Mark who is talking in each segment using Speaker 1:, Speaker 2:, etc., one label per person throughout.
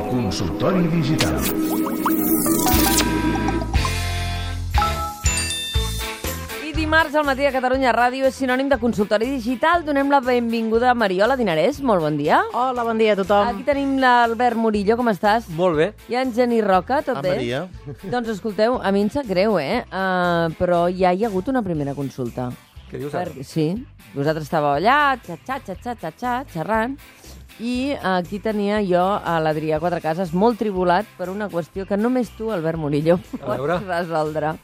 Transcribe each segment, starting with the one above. Speaker 1: Consultori Digital.
Speaker 2: I dimarts al matí a Catalunya Ràdio és sinònim de consultori digital. Donem la benvinguda a Mariola Dinarès. Molt bon dia.
Speaker 3: Hola, bon dia a tothom.
Speaker 2: Aquí tenim l'Albert Murillo, com estàs?
Speaker 4: Molt bé.
Speaker 2: I en Geni Roca, tot
Speaker 4: Ah,
Speaker 2: bé?
Speaker 4: Maria.
Speaker 2: Doncs escolteu, a mi em sap greu, eh? Uh, però ja hi ha hagut una primera consulta.
Speaker 4: Què dius ara?
Speaker 2: Per... Sí, vosaltres estàveu allà, xat, xat, xat, xat, xat, xat, xerrant, i aquí tenia jo a l'Adrià Quatre Cases molt tribulat per una qüestió que només tu, Albert Murillo,
Speaker 4: A veure.
Speaker 2: pots resoldre.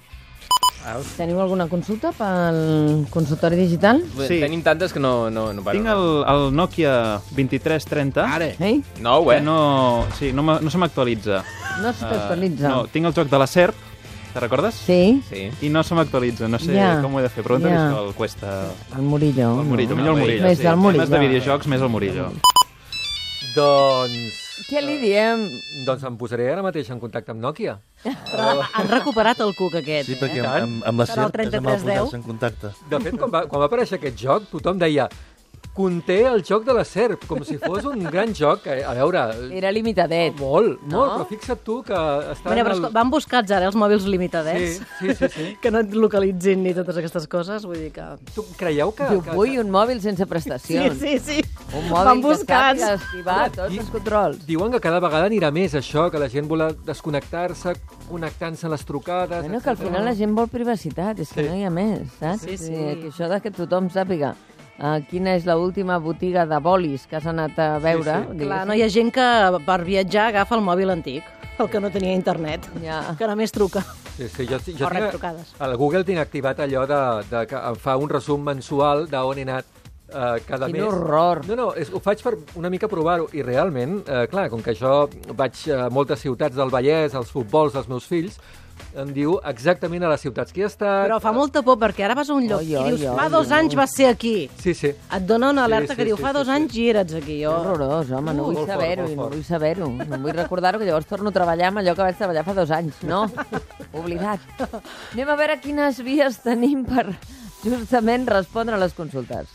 Speaker 5: Au.
Speaker 2: Teniu alguna consulta pel consultori digital?
Speaker 5: Sí.
Speaker 4: Sí. Tenim tantes que no... no, no
Speaker 5: Tinc el, el Nokia 2330. Ara.
Speaker 2: Ei,
Speaker 4: No,
Speaker 5: Que
Speaker 4: eh? No.
Speaker 5: no, sí, no, me- no se m'actualitza.
Speaker 2: no se
Speaker 5: Eh,
Speaker 2: t'actualitza.
Speaker 5: no, tinc el joc de la SERP, te recordes?
Speaker 2: Sí,
Speaker 4: Sí.
Speaker 5: I no se m'actualitza, no sé
Speaker 2: Ja.
Speaker 5: yeah. com ho he de fer. Pregunta-li
Speaker 2: Ja.
Speaker 5: yeah. això al Cuesta...
Speaker 2: el Murillo.
Speaker 5: El Murillo, millor el Murillo.
Speaker 2: Més
Speaker 5: sí.
Speaker 2: el Murillo.
Speaker 5: Temes de videojocs, més el Murillo.
Speaker 4: Doncs...
Speaker 2: Què li diem?
Speaker 4: Doncs em posaré ara mateix en contacte amb Nokia.
Speaker 3: Has recuperat el cuc aquest.
Speaker 6: Sí, perquè
Speaker 4: tant.
Speaker 6: amb, amb, amb la
Speaker 3: Serà el
Speaker 6: SERP és amb el
Speaker 3: 3310.
Speaker 6: posar-se en contacte.
Speaker 4: De fet, quan va, quan va aparèixer aquest joc, tothom deia conté el joc de la serp, com si fos un gran joc. que, A veure,
Speaker 2: eh? Era limitadet.
Speaker 4: molt, molt,
Speaker 2: No?
Speaker 4: però fixa't tu que està...
Speaker 3: Bueno,
Speaker 4: en
Speaker 3: però escol- van buscats ara els mòbils
Speaker 4: Sí,
Speaker 3: limitadets.
Speaker 4: sí, sí. sí.
Speaker 3: Que no et localitzin ni totes aquestes coses, vull dir que...
Speaker 4: Tu creieu que...
Speaker 2: Diu,
Speaker 4: Ah, que,
Speaker 2: vull
Speaker 4: que...
Speaker 2: un mòbil sense
Speaker 3: Sí,
Speaker 2: prestacions.
Speaker 3: sí, sí.
Speaker 2: Un
Speaker 3: Van
Speaker 2: mòbil que
Speaker 3: buscats.
Speaker 2: sàpiga esquivar tots els controls.
Speaker 4: Diuen que cada vegada anirà més això, que la gent vol desconnectar-se, connectant-se a les trucades...
Speaker 2: Bueno, que al final la gent vol privacitat, és que
Speaker 4: Sí.
Speaker 2: no hi ha més, saps?
Speaker 3: Sí, sí.
Speaker 2: Eh, Que això de que tothom sàpiga eh, quina és l'última botiga de bolis que has anat a veure.
Speaker 4: sí.
Speaker 2: diguéssim.
Speaker 3: Clar, no hi ha gent que per viatjar agafa el mòbil antic, el que no tenia internet,
Speaker 2: Ja.
Speaker 3: que només truca.
Speaker 4: Sí, sí, jo, jo
Speaker 3: O rep
Speaker 4: tinc-
Speaker 3: trucades.
Speaker 4: A la Google tinc activat allò de, de que em fa un resum mensual d'on he anat eh, cada
Speaker 2: Quin
Speaker 4: mes.
Speaker 2: horror.
Speaker 4: No, no, és, ho faig per una mica provar-ho. I realment, eh, clar, com que jo vaig a moltes ciutats del Vallès, als futbols dels meus fills, em diu exactament a les ciutats que he estat...
Speaker 3: Però fa molta por, perquè ara vas a un lloc
Speaker 2: Oi,
Speaker 3: i
Speaker 2: oi,
Speaker 3: dius,
Speaker 2: oi,
Speaker 3: fa
Speaker 2: oi,
Speaker 3: dos anys vas ser aquí.
Speaker 4: Sí, sí.
Speaker 3: Et dona una
Speaker 4: Sí,
Speaker 3: alerta
Speaker 4: sí,
Speaker 3: que diu,
Speaker 4: sí,
Speaker 3: fa
Speaker 4: sí,
Speaker 3: dos
Speaker 4: sí.
Speaker 3: anys i eres aquí.
Speaker 2: És
Speaker 3: Jo...
Speaker 2: horrorós, home, no
Speaker 4: Uh,
Speaker 2: vull
Speaker 4: molt fort,
Speaker 2: saber-ho,
Speaker 4: molt
Speaker 2: i no
Speaker 4: fort.
Speaker 2: vull saber-ho. No vull recordar-ho, que llavors torno a treballar amb allò que vaig treballar fa dos anys. No, oblidat. Anem a veure quines vies tenim per justament respondre a les consultes.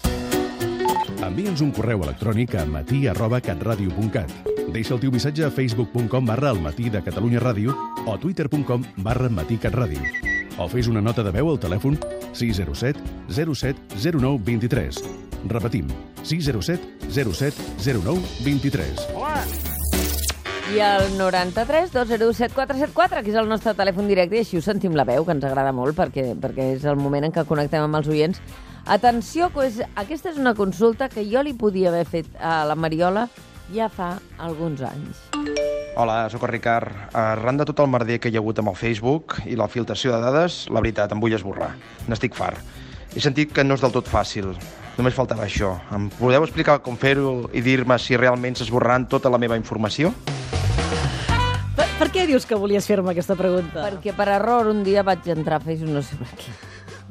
Speaker 1: Envia'ns un correu electrònic a matí arroba catradio.cat. Deixa el teu missatge a facebook.com barra el matí de Catalunya Ràdio o twitter.com barra matí catradio. O fes una nota de veu al telèfon 607 07 09 23. Repetim, 607 07 09 23.
Speaker 2: I el 93 201 7474, que és el nostre telèfon directe, i així us sentim la veu, que ens agrada molt, perquè, perquè és el moment en què connectem amb els oients. Atenció, que és, aquesta és una consulta que jo li podia haver fet a la Mariola ja fa alguns anys.
Speaker 7: Hola, sóc el Ricard. Arran de tot el merder que hi ha hagut amb el Facebook i la filtració de dades, la veritat, em vull esborrar. N'estic fart. He sentit que no és del tot fàcil. Només faltava això. Em podeu explicar com fer-ho i dir-me si realment s'esborraran tota la meva informació?
Speaker 3: Per, per què dius que volies fer-me aquesta pregunta?
Speaker 2: Perquè per error un dia vaig entrar a Facebook, no sé per què.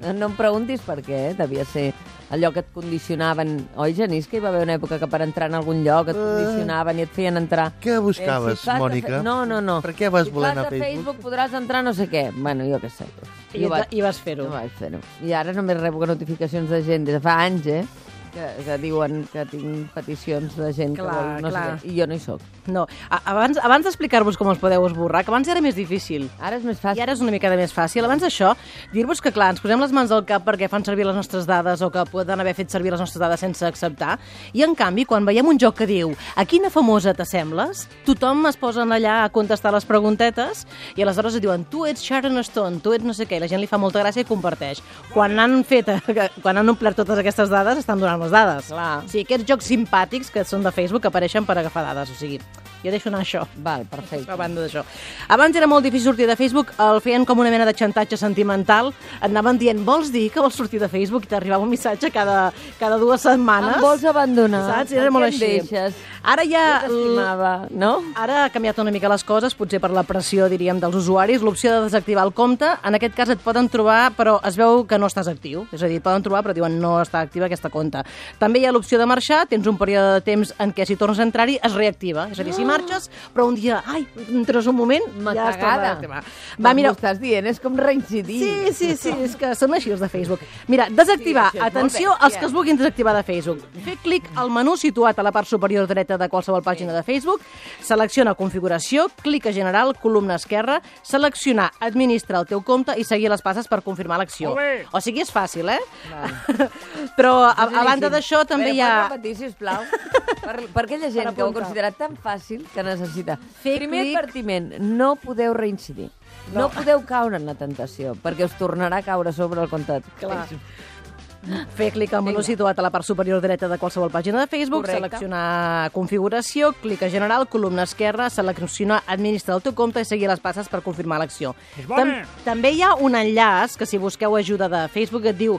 Speaker 2: No, no em preguntis per què, eh? devia ser allò que et condicionaven. Oi, Genís, que hi va haver una època que per entrar en algun lloc et condicionaven i et feien entrar...
Speaker 6: Eh.
Speaker 3: Eh,
Speaker 2: Eh,
Speaker 6: Què buscaves,
Speaker 2: fas a fe-
Speaker 6: Mònica?
Speaker 2: No, no, no.
Speaker 6: Per què vas voler anar a
Speaker 2: Si fas a
Speaker 6: Facebook?
Speaker 2: Facebook podràs entrar no sé què. Bueno, jo què sé.
Speaker 3: I,
Speaker 2: Jo
Speaker 3: va,
Speaker 2: vaig-
Speaker 3: I vas fer-ho.
Speaker 2: no vaig fer-ho. I ara només rebo notificacions de gent des de fa anys, eh? Que, que diuen que tinc peticions de gent que
Speaker 3: Clar,
Speaker 2: vol no
Speaker 3: clar.
Speaker 2: sé què. I jo no hi soc.
Speaker 3: No, a- abans, abans d'explicar-vos com els podeu esborrar, que abans era més difícil.
Speaker 2: Ara és més
Speaker 3: I
Speaker 2: fàcil.
Speaker 3: ara és una mica de més fàcil. Abans d'això, dir-vos que, clar, ens posem les mans al cap perquè fan servir les nostres dades o que poden haver fet servir les nostres dades sense acceptar. I, en canvi, quan veiem un joc que diu a quina famosa t'assembles, tothom es posen allà a contestar les preguntetes i aleshores et diuen tu ets Sharon Stone, tu ets no sé què, i la gent li fa molta gràcia i comparteix. Quan han fet, quan han omplert totes aquestes dades, estan donant les dades.
Speaker 2: Clar.
Speaker 3: O sigui, aquests jocs simpàtics que són de Facebook que apareixen per agafar dades. O sigui, jo deixo anar això.
Speaker 2: Val, perfecte.
Speaker 3: A banda d'això. Abans era molt difícil sortir de Facebook, el feien com una mena de xantatge sentimental. Et anaven dient, vols dir que vols sortir de Facebook? I t'arribava un missatge cada, cada dues setmanes.
Speaker 2: Em vols abandonar?
Speaker 3: Saps?
Speaker 2: Per
Speaker 3: Era molt
Speaker 2: què em
Speaker 3: així. Ah,
Speaker 2: deixes?
Speaker 3: Ara ja...
Speaker 2: Jo t'estimava, no?
Speaker 3: Ara ha canviat una mica les coses, potser per la pressió, diríem, dels usuaris, l'opció de desactivar el compte. En aquest cas et poden trobar, però es veu que no estàs actiu. És a dir, et poden trobar, però diuen no està activa aquesta compte. També hi ha l'opció de marxar, tens un període de temps en què si tornes a entrar-hi es reactiva. És a dir, si marxes, però un dia, ai, entres un moment,
Speaker 2: M'ha
Speaker 3: ja es torna
Speaker 2: cagada.
Speaker 3: el tema. Va, mira,
Speaker 2: M'ho estàs dient, és com reincidir.
Speaker 3: Sí, sí, sí, és que són així els de Facebook. Mira, desactivar,
Speaker 2: Sí,
Speaker 3: sí,
Speaker 2: això és
Speaker 3: atenció
Speaker 2: molt bèstia.
Speaker 3: als que es vulguin desactivar de Facebook. Fer clic al menú situat a la part superior dreta de qualsevol pàgina de Facebook, selecciona configuració, clic a general, columna esquerra, seleccionar administrar el teu compte i seguir les passes per confirmar l'acció. O sigui, és fàcil, eh? Però a, a banda d'això també
Speaker 2: Però
Speaker 3: hi ha...
Speaker 2: Pots repetir, sisplau? per, per aquella gent
Speaker 3: Per
Speaker 2: que ho ha
Speaker 3: apuntar.
Speaker 2: considerat tan fàcil que necessita.
Speaker 3: Fer
Speaker 2: Primer
Speaker 3: clic.
Speaker 2: advertiment, no podeu reincidir. No. no podeu caure en la tentació, perquè us tornarà a caure sobre el compte de
Speaker 3: Clar. Fer clic al menú situat a la part superior dreta de qualsevol pàgina de Facebook,
Speaker 2: Correcte.
Speaker 3: seleccionar configuració, clic a general, columna esquerra, seleccionar administrar el teu compte i seguir les passes per confirmar l'acció. Tam també hi ha un enllaç que si busqueu ajuda de Facebook et diu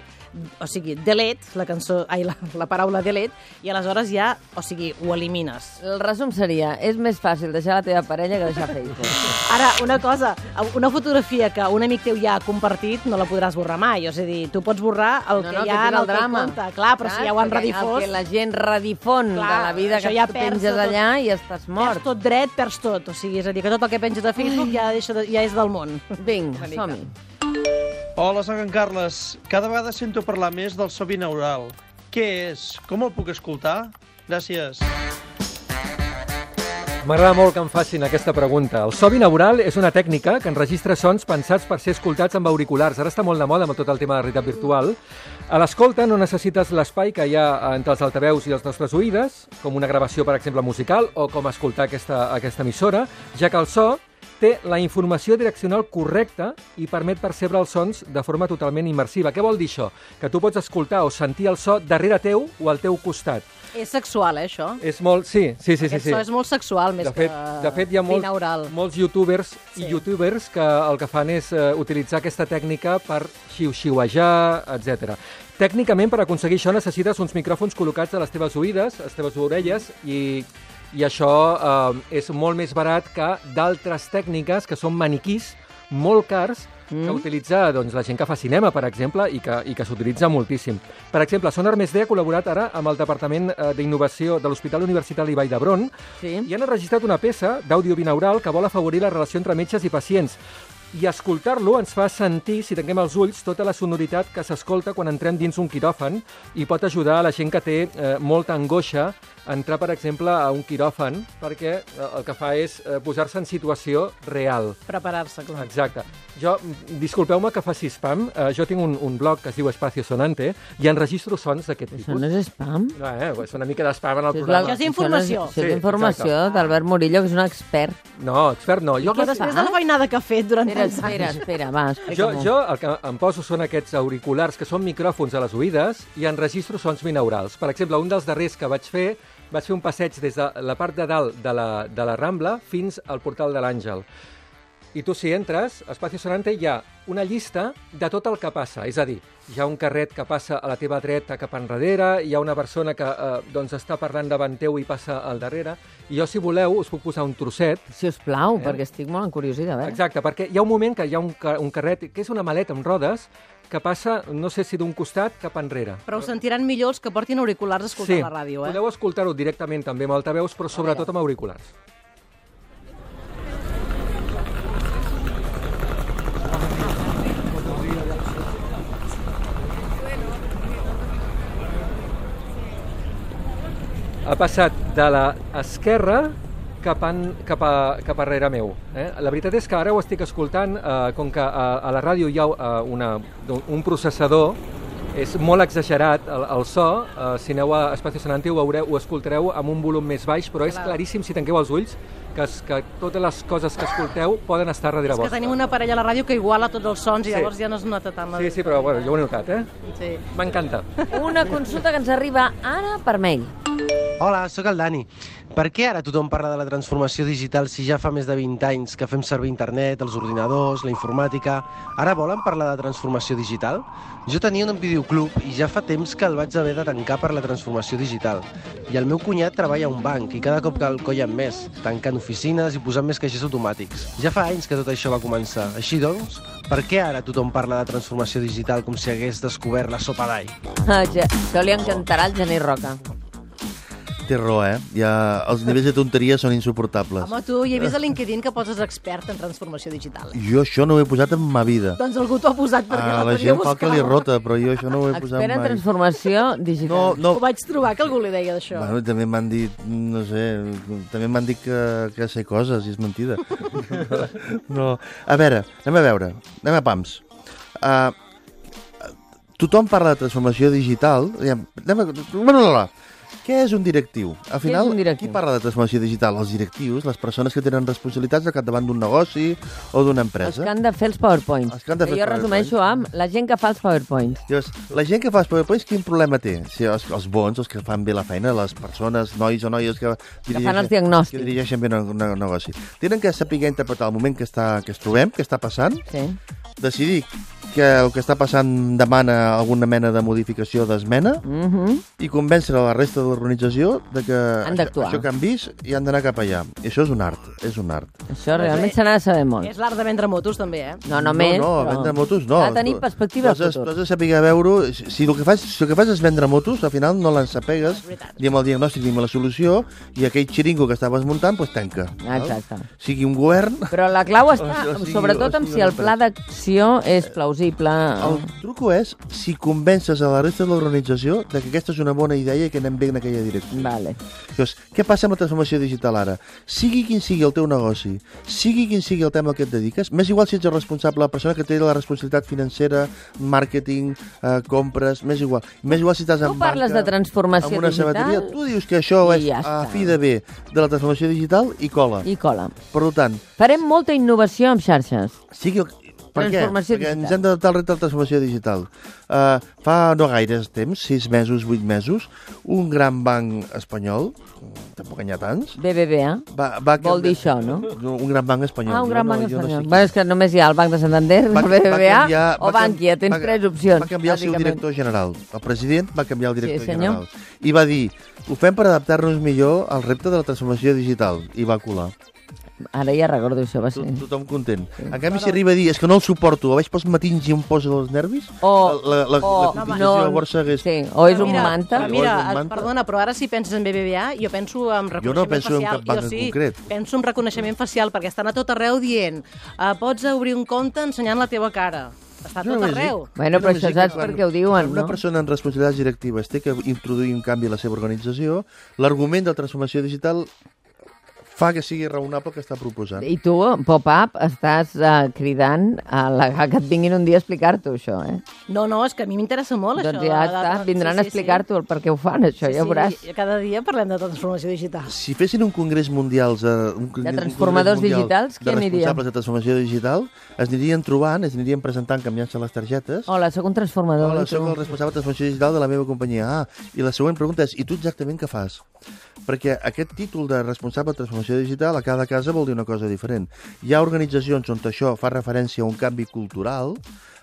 Speaker 3: o sigui, delete, la cançó, ai, la, la paraula delete, i aleshores ja, o sigui, ho elimines.
Speaker 2: El resum seria, és més fàcil deixar la teva parella que deixar Facebook.
Speaker 3: Ara, una cosa, una fotografia que un amic teu ja ha compartit no la podràs borrar mai, és a dir, tu pots borrar el que hi
Speaker 2: aquest
Speaker 3: ha en
Speaker 2: és
Speaker 3: el, teu compte, clar, però
Speaker 2: Saps?
Speaker 3: si ja ho han
Speaker 2: Perquè El
Speaker 3: redifós...
Speaker 2: que la gent redifon
Speaker 3: Clar,
Speaker 2: de la vida
Speaker 3: això
Speaker 2: que
Speaker 3: ja
Speaker 2: tu
Speaker 3: perds
Speaker 2: penges
Speaker 3: tot.
Speaker 2: allà i estàs
Speaker 3: Mort.
Speaker 2: mort.
Speaker 3: Perds tot dret, perds tot. O sigui, és a dir, que tot el que penges a Facebook ja, deixa de, ja és del món.
Speaker 2: Vinga, som-hi.
Speaker 8: Hola, sóc en Carles. Cada vegada sento parlar més del so binaural. Què és? Com el puc escoltar? Gràcies.
Speaker 4: M'agrada molt que em facin aquesta pregunta. El so binaural és una tècnica que enregistra sons pensats per ser escoltats amb auriculars. Ara està molt de moda amb tot el tema de la realitat virtual. A l'escolta no necessites l'espai que hi ha entre els altaveus i les nostres oïdes, com una gravació, per exemple, musical, o com escoltar aquesta, aquesta emissora, ja que el so té la informació direccional correcta i permet percebre els sons de forma totalment immersiva. Què vol dir això? Que tu pots escoltar o sentir el so darrere teu o al teu costat.
Speaker 3: És sexual, eh, això?
Speaker 4: És molt... Sí, sí, sí. sí,
Speaker 3: Aquest
Speaker 4: sí.
Speaker 3: so és molt sexual, més
Speaker 4: De fet,
Speaker 3: que
Speaker 4: de fet hi ha
Speaker 3: binaural.
Speaker 4: molts, molts youtubers sí. i youtubers que el que fan és eh, utilitzar aquesta tècnica per xiu-xiuejar, etc. Tècnicament, per aconseguir això, necessites uns micròfons col·locats a les teves oïdes, a les teves orelles, i, i això eh, és molt més barat que d'altres tècniques que són maniquís, molt cars, que
Speaker 3: Mm.
Speaker 4: utilitza doncs, la gent que fa cinema, per exemple, i que, i que s'utilitza moltíssim. Per exemple, Sonar Més D ha col·laborat ara amb el Departament eh, d'Innovació de l'Hospital Universitari Vall d'Hebron
Speaker 2: Sí.
Speaker 4: i han enregistrat una peça d'àudio binaural que vol afavorir la relació entre metges i pacients. I escoltar-lo ens fa sentir, si tanquem els ulls, tota la sonoritat que s'escolta quan entrem dins un quiròfan i pot ajudar a la gent que té eh, molta angoixa a entrar, per exemple, a un quiròfan perquè eh, el que fa és eh, posar-se en situació real.
Speaker 3: Preparar-se, clar.
Speaker 4: Exacte. Jo, mm, disculpeu-me que faci spam, eh, jo tinc un, un blog que es diu Espacio Sonante i enregistro sons d'aquest
Speaker 2: Això
Speaker 4: tipus.
Speaker 2: no és spam?
Speaker 4: No, eh? És una mica d'espam en el
Speaker 2: Això és, la...
Speaker 4: programa.
Speaker 3: Això és informació.
Speaker 2: Això és, això
Speaker 4: Sí,
Speaker 2: és informació d'Albert Murillo, que és un expert.
Speaker 4: No, expert no. Jo,
Speaker 3: Que després de la feinada que ha fet durant
Speaker 2: Espera,
Speaker 3: tants
Speaker 2: espera,
Speaker 3: anys...
Speaker 2: espera, va,
Speaker 4: jo,
Speaker 2: explica-m'ho.
Speaker 4: jo el que em poso són aquests auriculars que són micròfons a les oïdes i enregistro sons binaurals. Per exemple, un dels darrers que vaig fer vaig fer un passeig des de la part de dalt de la, de la Rambla fins al portal de l'Àngel. I tu, si entres, a Espacio Sonante hi ha una llista de tot el que passa. És a dir, hi ha un carret que passa a la teva dreta cap enrere, hi ha una persona que eh, doncs està parlant davant teu i passa al darrere. I jo, si voleu, us puc posar un trosset
Speaker 2: Si us plau, eh? perquè estic molt encuriosida, eh?
Speaker 4: Exacte, perquè hi ha un moment que hi ha un, ca- un carret, que és una maleta amb rodes, que passa, no sé si d'un costat cap enrere.
Speaker 3: Però ho sentiran millor els que portin auriculars escoltant la ràdio, eh?
Speaker 4: podeu escoltar-ho directament també amb altaveus, però sobretot amb auriculars. Ha passat de l'esquerra cap, en, cap, a, cap a rere meu. Eh? La veritat és que ara ho estic escoltant, eh, com que a, a la ràdio hi ha eh, una, un processador, és molt exagerat el, el so, eh, si aneu a Espacio Sonante ho, veureu, ho escoltareu amb un volum més baix, però és claríssim, si tanqueu els ulls, que, es, que totes les coses que escolteu poden estar darrere
Speaker 3: És que
Speaker 4: vostra.
Speaker 3: tenim una parella a la ràdio que iguala tots els sons i
Speaker 4: Sí.
Speaker 3: llavors ja no es nota tant la...
Speaker 4: Sí, sí, però bueno, jo ho he notat, eh?
Speaker 3: sí.
Speaker 4: M'encanta.
Speaker 2: Una consulta que ens arriba ara per mail.
Speaker 9: Hola, sóc el Dani. Per què ara tothom parla de la transformació digital si ja fa més de 20 anys que fem servir internet, els ordinadors, la informàtica? Ara volen parlar de transformació digital? Jo tenia un videoclub i ja fa temps que el vaig haver de tancar per la transformació digital. I el meu cunyat treballa a un banc i cada cop que el collen més, tancant oficines i posant més caixers automàtics. Ja fa anys que tot això va començar. Així doncs, per què ara tothom parla de transformació digital com si hagués descobert la sopa d'all?
Speaker 2: Ah, ja- Això li encantarà al Gener Roca.
Speaker 6: Té raó, eh? Ja, els nivells de tonteria són insuportables.
Speaker 3: Home, tu ja he vist a LinkedIn que poses expert en transformació digital.
Speaker 6: Jo això no ho he posat en ma vida.
Speaker 3: Doncs algú t'ho ha posat perquè
Speaker 6: A
Speaker 3: la
Speaker 6: Ah, la
Speaker 3: podia
Speaker 6: gent fa
Speaker 3: buscar.
Speaker 6: que li rota, però jo això no ho he posat
Speaker 2: Espera en
Speaker 6: mai.
Speaker 2: transformació digital.
Speaker 6: No,
Speaker 3: Ho vaig trobar que algú li deia d'això.
Speaker 6: Bueno, i també m'han dit, no sé, també m'han dit que, que sé coses i és mentida. no. A veure, anem a veure, anem a pams. Uh, tothom parla de transformació digital. Aviam, Anem a... Blablabla. Què és un directiu? Al final,
Speaker 2: és un directiu?
Speaker 6: qui parla de transformació digital? Els directius, les persones que tenen responsabilitats al capdavant d'un negoci o d'una
Speaker 2: Els
Speaker 6: empresa.
Speaker 2: que han de fer els PowerPoints.
Speaker 6: eh? Els que han de fer
Speaker 2: jo
Speaker 6: els
Speaker 2: resumeixo amb la gent que fa els PowerPoints.
Speaker 6: Llavors, la gent que fa els PowerPoints, quin problema té? Si els, els bons, els que fan bé la feina, les persones, nois o noies que, dirigeixen-
Speaker 2: els diagnòstics.
Speaker 6: que dirigeixen bé un un negoci. Tenen que saber interpretar el moment que, està, que es trobem, que està passant,
Speaker 2: Sí.
Speaker 6: decidir que el que està passant demana alguna mena de modificació d'esmena
Speaker 2: Mm -hmm.
Speaker 6: i convèncer a la resta de l'organització de que
Speaker 2: Han
Speaker 6: això,
Speaker 2: d'actuar.
Speaker 6: això que han vist i han d'anar cap allà. I això és un art, és un art.
Speaker 2: Això realment se n'ha de saber molt.
Speaker 3: És l'art de vendre motos, també, eh?
Speaker 2: No, només...
Speaker 6: No, no,
Speaker 2: però
Speaker 6: vendre motos no.
Speaker 2: Ha de tenir perspectiva
Speaker 6: Tu has de-
Speaker 2: de futur.
Speaker 6: Tu has de saber veure... Si, si, el que fas, si el que fas és vendre motos, al final no l'ensapegues ni amb el diagnòstic ni amb la solució i aquell xiringo que estaves muntant, doncs tanca.
Speaker 2: Ah, Exacte.
Speaker 6: Sigui un govern...
Speaker 2: Però la clau està,
Speaker 6: O sigui-
Speaker 2: sobretot,
Speaker 6: o
Speaker 2: amb
Speaker 6: sigui
Speaker 2: si el pla d'acció és plausible.
Speaker 6: El truco és si convences a la resta de l'organització de que aquesta és una bona idea i que anem bé en aquella direcció.
Speaker 2: Vale.
Speaker 6: Llavors, què passa amb la transformació digital ara? Sigui quin sigui el teu negoci, sigui quin sigui el tema que et dediques, més igual si ets el responsable, la persona que té la responsabilitat financera, màrqueting, eh, compres, més igual. Més igual si estàs en
Speaker 2: Tu parles
Speaker 6: banca,
Speaker 2: de transformació
Speaker 6: en una
Speaker 2: digital
Speaker 6: sabateria, tu dius que això
Speaker 2: i
Speaker 6: és
Speaker 2: ja
Speaker 6: a
Speaker 2: està.
Speaker 6: fi de bé de la transformació digital i cola. I...
Speaker 2: i cola.
Speaker 6: Per tant,
Speaker 2: Farem molta innovació amb xarxes.
Speaker 6: sigui... el- Per què?
Speaker 2: Transformació
Speaker 6: Perquè ens
Speaker 2: digital.
Speaker 6: hem d'adaptar al repte de la transformació digital. Uh, fa no gaires temps, sis mesos, vuit mesos, un gran banc espanyol, tampoc hi ha tants,
Speaker 2: BBVA.
Speaker 6: va, va
Speaker 2: Vol dir això, no?
Speaker 6: Un gran banc espanyol.
Speaker 2: Ah, un
Speaker 6: Jo
Speaker 2: gran
Speaker 6: no,
Speaker 2: banc
Speaker 6: jo
Speaker 2: espanyol.
Speaker 6: No sé
Speaker 2: Bé, és que només hi ha el Banc de Santander,
Speaker 6: qui.
Speaker 2: el BBVA
Speaker 6: canviar-
Speaker 2: o
Speaker 6: va can-
Speaker 2: Bankia. Tens
Speaker 6: va-
Speaker 2: tres opcions,
Speaker 6: Va canviar el seu
Speaker 2: bàsicament.
Speaker 6: director general. El president va canviar el director
Speaker 2: Sí, senyor.
Speaker 6: general. I va dir, ho fem per adaptar-nos millor al repte de la transformació digital. I va colar.
Speaker 2: Ara ja recordo això, va
Speaker 6: Sí.
Speaker 2: ser.
Speaker 6: Tothom content. En canvi, si arriba a dir, és que no el suporto, a veig pels matins i em posa els nervis,
Speaker 2: O-
Speaker 6: la, la, la,
Speaker 2: o-
Speaker 6: la competició
Speaker 2: no,
Speaker 6: de la borsa hagués...
Speaker 2: Sí, o és
Speaker 3: Però
Speaker 2: un
Speaker 3: mira,
Speaker 2: manta.
Speaker 3: Però
Speaker 6: O
Speaker 3: mira,
Speaker 6: és un manta.
Speaker 3: perdona, però ara si penses en BBVA, jo penso en reconeixement
Speaker 6: Jo no penso en
Speaker 3: facial.
Speaker 6: cap banc en
Speaker 3: jo sí,
Speaker 6: concret.
Speaker 3: penso en reconeixement facial, perquè estan a tot arreu dient uh, pots obrir un compte ensenyant la teva cara. Està a tot
Speaker 6: només dic-
Speaker 3: arreu.
Speaker 2: Bueno,
Speaker 6: jo
Speaker 2: però
Speaker 6: només
Speaker 2: això
Speaker 6: dic que
Speaker 2: saps
Speaker 6: quan-
Speaker 2: perquè ho diuen,
Speaker 6: quan Una
Speaker 2: no?
Speaker 6: persona amb responsabilitats directives té que introduir un canvi a la seva organització. L'argument de transformació digital fa que sigui raonable el que està proposant.
Speaker 2: I tu, pop-up, estàs eh, cridant a, la, a que et vinguin un dia a explicar-t'ho, això, eh?
Speaker 3: No, no, és que a mi m'interessa molt
Speaker 2: Doncs ja
Speaker 3: això. de- de-
Speaker 2: està,
Speaker 3: de-
Speaker 2: vindran a explicar-t'ho el per què ho fan, això, ja ho veuràs.
Speaker 3: Sí, cada dia parlem de transformació digital.
Speaker 6: Si fessin un congrés mundial eh, un congrés,
Speaker 2: transformadors
Speaker 6: un congrés mundial
Speaker 2: digitals, qui
Speaker 6: de
Speaker 2: aniria?
Speaker 6: responsables de transformació digital, es anirien trobant, es anirien presentant, canviant-se les targetes.
Speaker 2: Hola, sóc un transformador.
Speaker 6: Hola,
Speaker 2: i tu?
Speaker 6: sóc el responsable de transformació digital de la meva companyia. Ah, i la següent pregunta és, i tu exactament què fas? Perquè aquest títol de responsable de transformació digital a cada casa vol dir una cosa diferent. Hi ha organitzacions on això fa referència a un canvi cultural,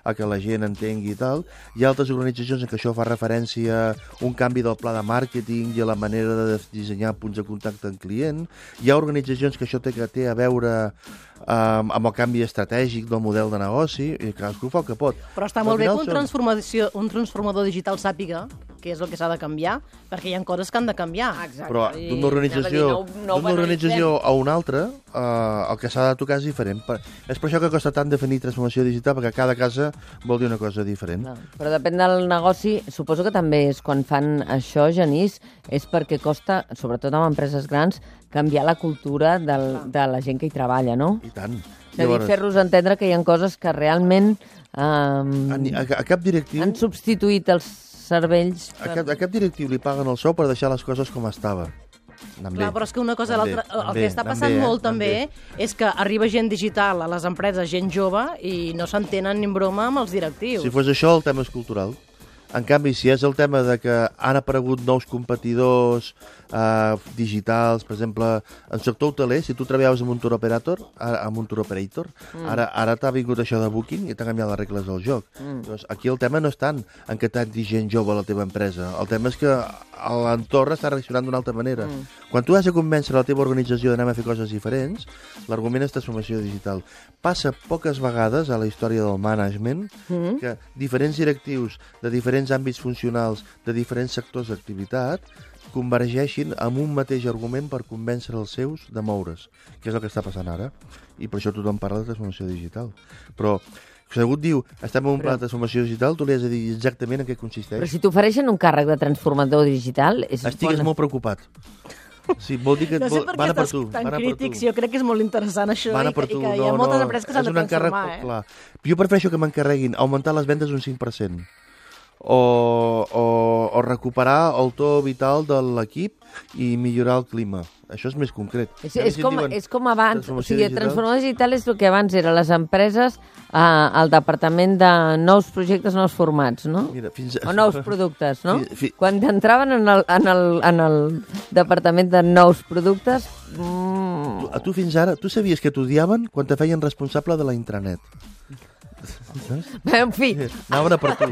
Speaker 6: a que la gent entengui i tal. Hi ha altres organitzacions en què això fa referència a un canvi del pla de màrqueting i a la manera de dissenyar punts de contacte amb client. Hi ha organitzacions que això té, que té a veure eh, amb el canvi estratègic del model de negoci, i cadascú fa el que pot.
Speaker 3: Però està
Speaker 6: Al
Speaker 3: molt bé que
Speaker 6: final
Speaker 3: un,
Speaker 6: són-
Speaker 3: transformació, un transformador digital sàpiga que és el que s'ha de canviar, perquè hi ha coses que han de canviar. Exacte.
Speaker 6: però d'una organització,
Speaker 2: anava a dir, no- no ho
Speaker 6: d'una organització a una altra, eh, el que s'ha de tocar és diferent. Per, és per això que costa tant definir transformació digital, perquè cada casa vol dir una cosa diferent.
Speaker 2: No, però depèn del negoci. Suposo que també és quan fan això, Genís, és perquè costa, sobretot amb empreses grans, canviar la cultura del, de la gent que hi treballa, no?
Speaker 6: I tant.
Speaker 2: És a dir, fer-los entendre que hi ha coses que realment
Speaker 6: a,
Speaker 2: um,
Speaker 6: ni- a, a cap directiu...
Speaker 2: han substituït els cervells.
Speaker 6: A cap, a cap directiu li paguen el sou per deixar les coses com estava. Anant
Speaker 3: Clar, però és que una cosa a
Speaker 6: anant
Speaker 3: l'altra...
Speaker 6: bé,
Speaker 3: El
Speaker 6: anant
Speaker 3: que
Speaker 6: bé,
Speaker 3: està
Speaker 6: anant
Speaker 3: passant
Speaker 6: bé, eh?
Speaker 3: molt, també,
Speaker 6: Anant
Speaker 3: és que arriba gent digital a les empreses, gent jove, i no s'entenen ni en broma amb els directius.
Speaker 6: Si fos això, el tema és cultural. En canvi, si és el tema de que han aparegut nous competidors eh, digitals, per exemple, en sector hoteler, si tu treballaves amb un tour operator, ara, amb un tour operator, mm. ara, ara t'ha vingut això de Booking i t'ha canviat les regles del joc. Mm. Llavors, aquí el tema no és tant en què t'ha dit gent jove a la teva empresa. El tema és que l'entorn està reaccionant d'una altra manera. Mm. Quan tu has de convèncer la teva organització d'anar a fer coses diferents, l'argument és transformació digital. Passa poques vegades a la història del management mm. que diferents directius de diferents àmbits funcionals, de diferents sectors d'activitat, convergeixin amb un mateix argument per convèncer els seus de moure's, que és el que està passant ara. I per això tothom parla de transformació digital. Però si algú et diu, estem en un pla de transformació digital, tu li has de dir exactament en què consisteix.
Speaker 2: Però si t'ofereixen un càrrec de transformador digital... És
Speaker 6: Estigues
Speaker 2: bona-
Speaker 6: molt preocupat. Sí, vol dir que
Speaker 3: No
Speaker 6: et
Speaker 3: sé
Speaker 6: vol,
Speaker 3: per què
Speaker 6: van a per
Speaker 3: estàs
Speaker 6: tu.
Speaker 3: tan
Speaker 6: van a per
Speaker 3: crític,
Speaker 6: tu.
Speaker 3: si jo crec que és molt interessant això eh,
Speaker 6: Van a
Speaker 3: i,
Speaker 6: per
Speaker 3: que,
Speaker 6: tu.
Speaker 3: i
Speaker 6: no,
Speaker 3: que hi ha moltes
Speaker 6: no,
Speaker 3: empreses que s'han
Speaker 6: és
Speaker 3: de
Speaker 6: un encàrrec
Speaker 3: transformar, eh?
Speaker 6: clar. Jo prefereixo que m'encarreguin augmentar les vendes un 5% o, o, o recuperar el to vital de l'equip i millorar el clima. Això és més concret.
Speaker 2: És,
Speaker 6: A mi
Speaker 2: és,
Speaker 6: si et
Speaker 2: com,
Speaker 6: diuen
Speaker 2: és com abans, o
Speaker 6: transformació
Speaker 2: sigui,
Speaker 6: digital-
Speaker 2: transformació digital és el que abans era les empreses eh, al departament de nous projectes, nous formats, no?
Speaker 6: Mira, fins a-
Speaker 2: O nous productes, no?
Speaker 6: Fi- fi-
Speaker 2: Quan entraven en el, en, el, en el departament de nous productes... Mm,
Speaker 6: A tu fins ara, tu sabies que t'odiaven quan te feien responsable de la intranet.
Speaker 2: en fi,
Speaker 6: Anaven a per tu.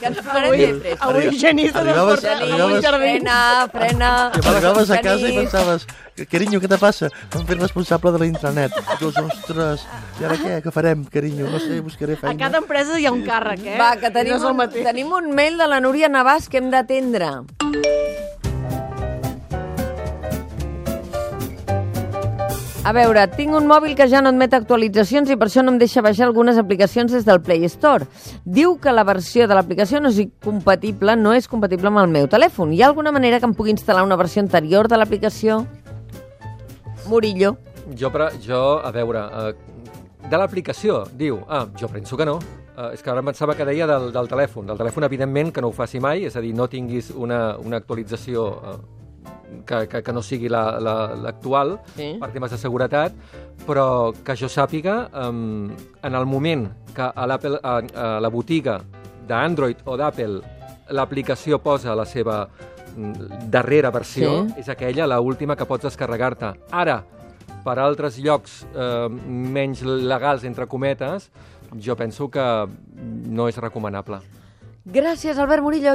Speaker 2: que ens farem després.
Speaker 3: Avui
Speaker 6: Arri-
Speaker 3: genista del
Speaker 6: arribaves-
Speaker 3: portal,
Speaker 2: Genís,
Speaker 6: arribaves-
Speaker 2: frena, frena...
Speaker 6: Arribaves a casa i
Speaker 2: Genís.
Speaker 6: pensaves, carinyo, què te passa? M'han fet responsable de la intranet. I dius, ostres, i ara què? Què farem, carinyo? No sé, buscaré
Speaker 3: A
Speaker 6: feina.
Speaker 3: cada empresa hi ha un càrrec, eh?
Speaker 2: Va, que tenim,
Speaker 3: No és el
Speaker 2: un,
Speaker 3: mateix.
Speaker 2: tenim un mail de la Núria Navàs que hem d'atendre. A veure, tinc un mòbil que ja no admet actualitzacions i per això no em deixa baixar algunes aplicacions des del Play Store. Diu que la versió de l'aplicació no és compatible, no és compatible amb el meu telèfon. Hi ha alguna manera que em pugui instal·lar una versió anterior de l'aplicació? Murillo.
Speaker 4: Jo, pre... jo a veure, uh, de l'aplicació, diu, ah, jo penso que no. Uh, és que ara em pensava que deia del, del telèfon. Del telèfon, evidentment, que no ho faci mai, és a dir, no tinguis una, una actualització uh, que, que, que no sigui la- la- l'actual la,
Speaker 2: Sí.
Speaker 4: sí. per temes de seguretat, però que jo sàpiga, um, en el moment que a, l'Apple- a, a la botiga d'Android o d'Apple l'aplicació posa la seva mm, darrera versió,
Speaker 2: Sí.
Speaker 4: sí. és aquella, la última que pots descarregar-te. Ara, per altres llocs eh, menys legals, entre cometes, jo penso que no és recomanable.
Speaker 2: Gràcies, Albert Murillo.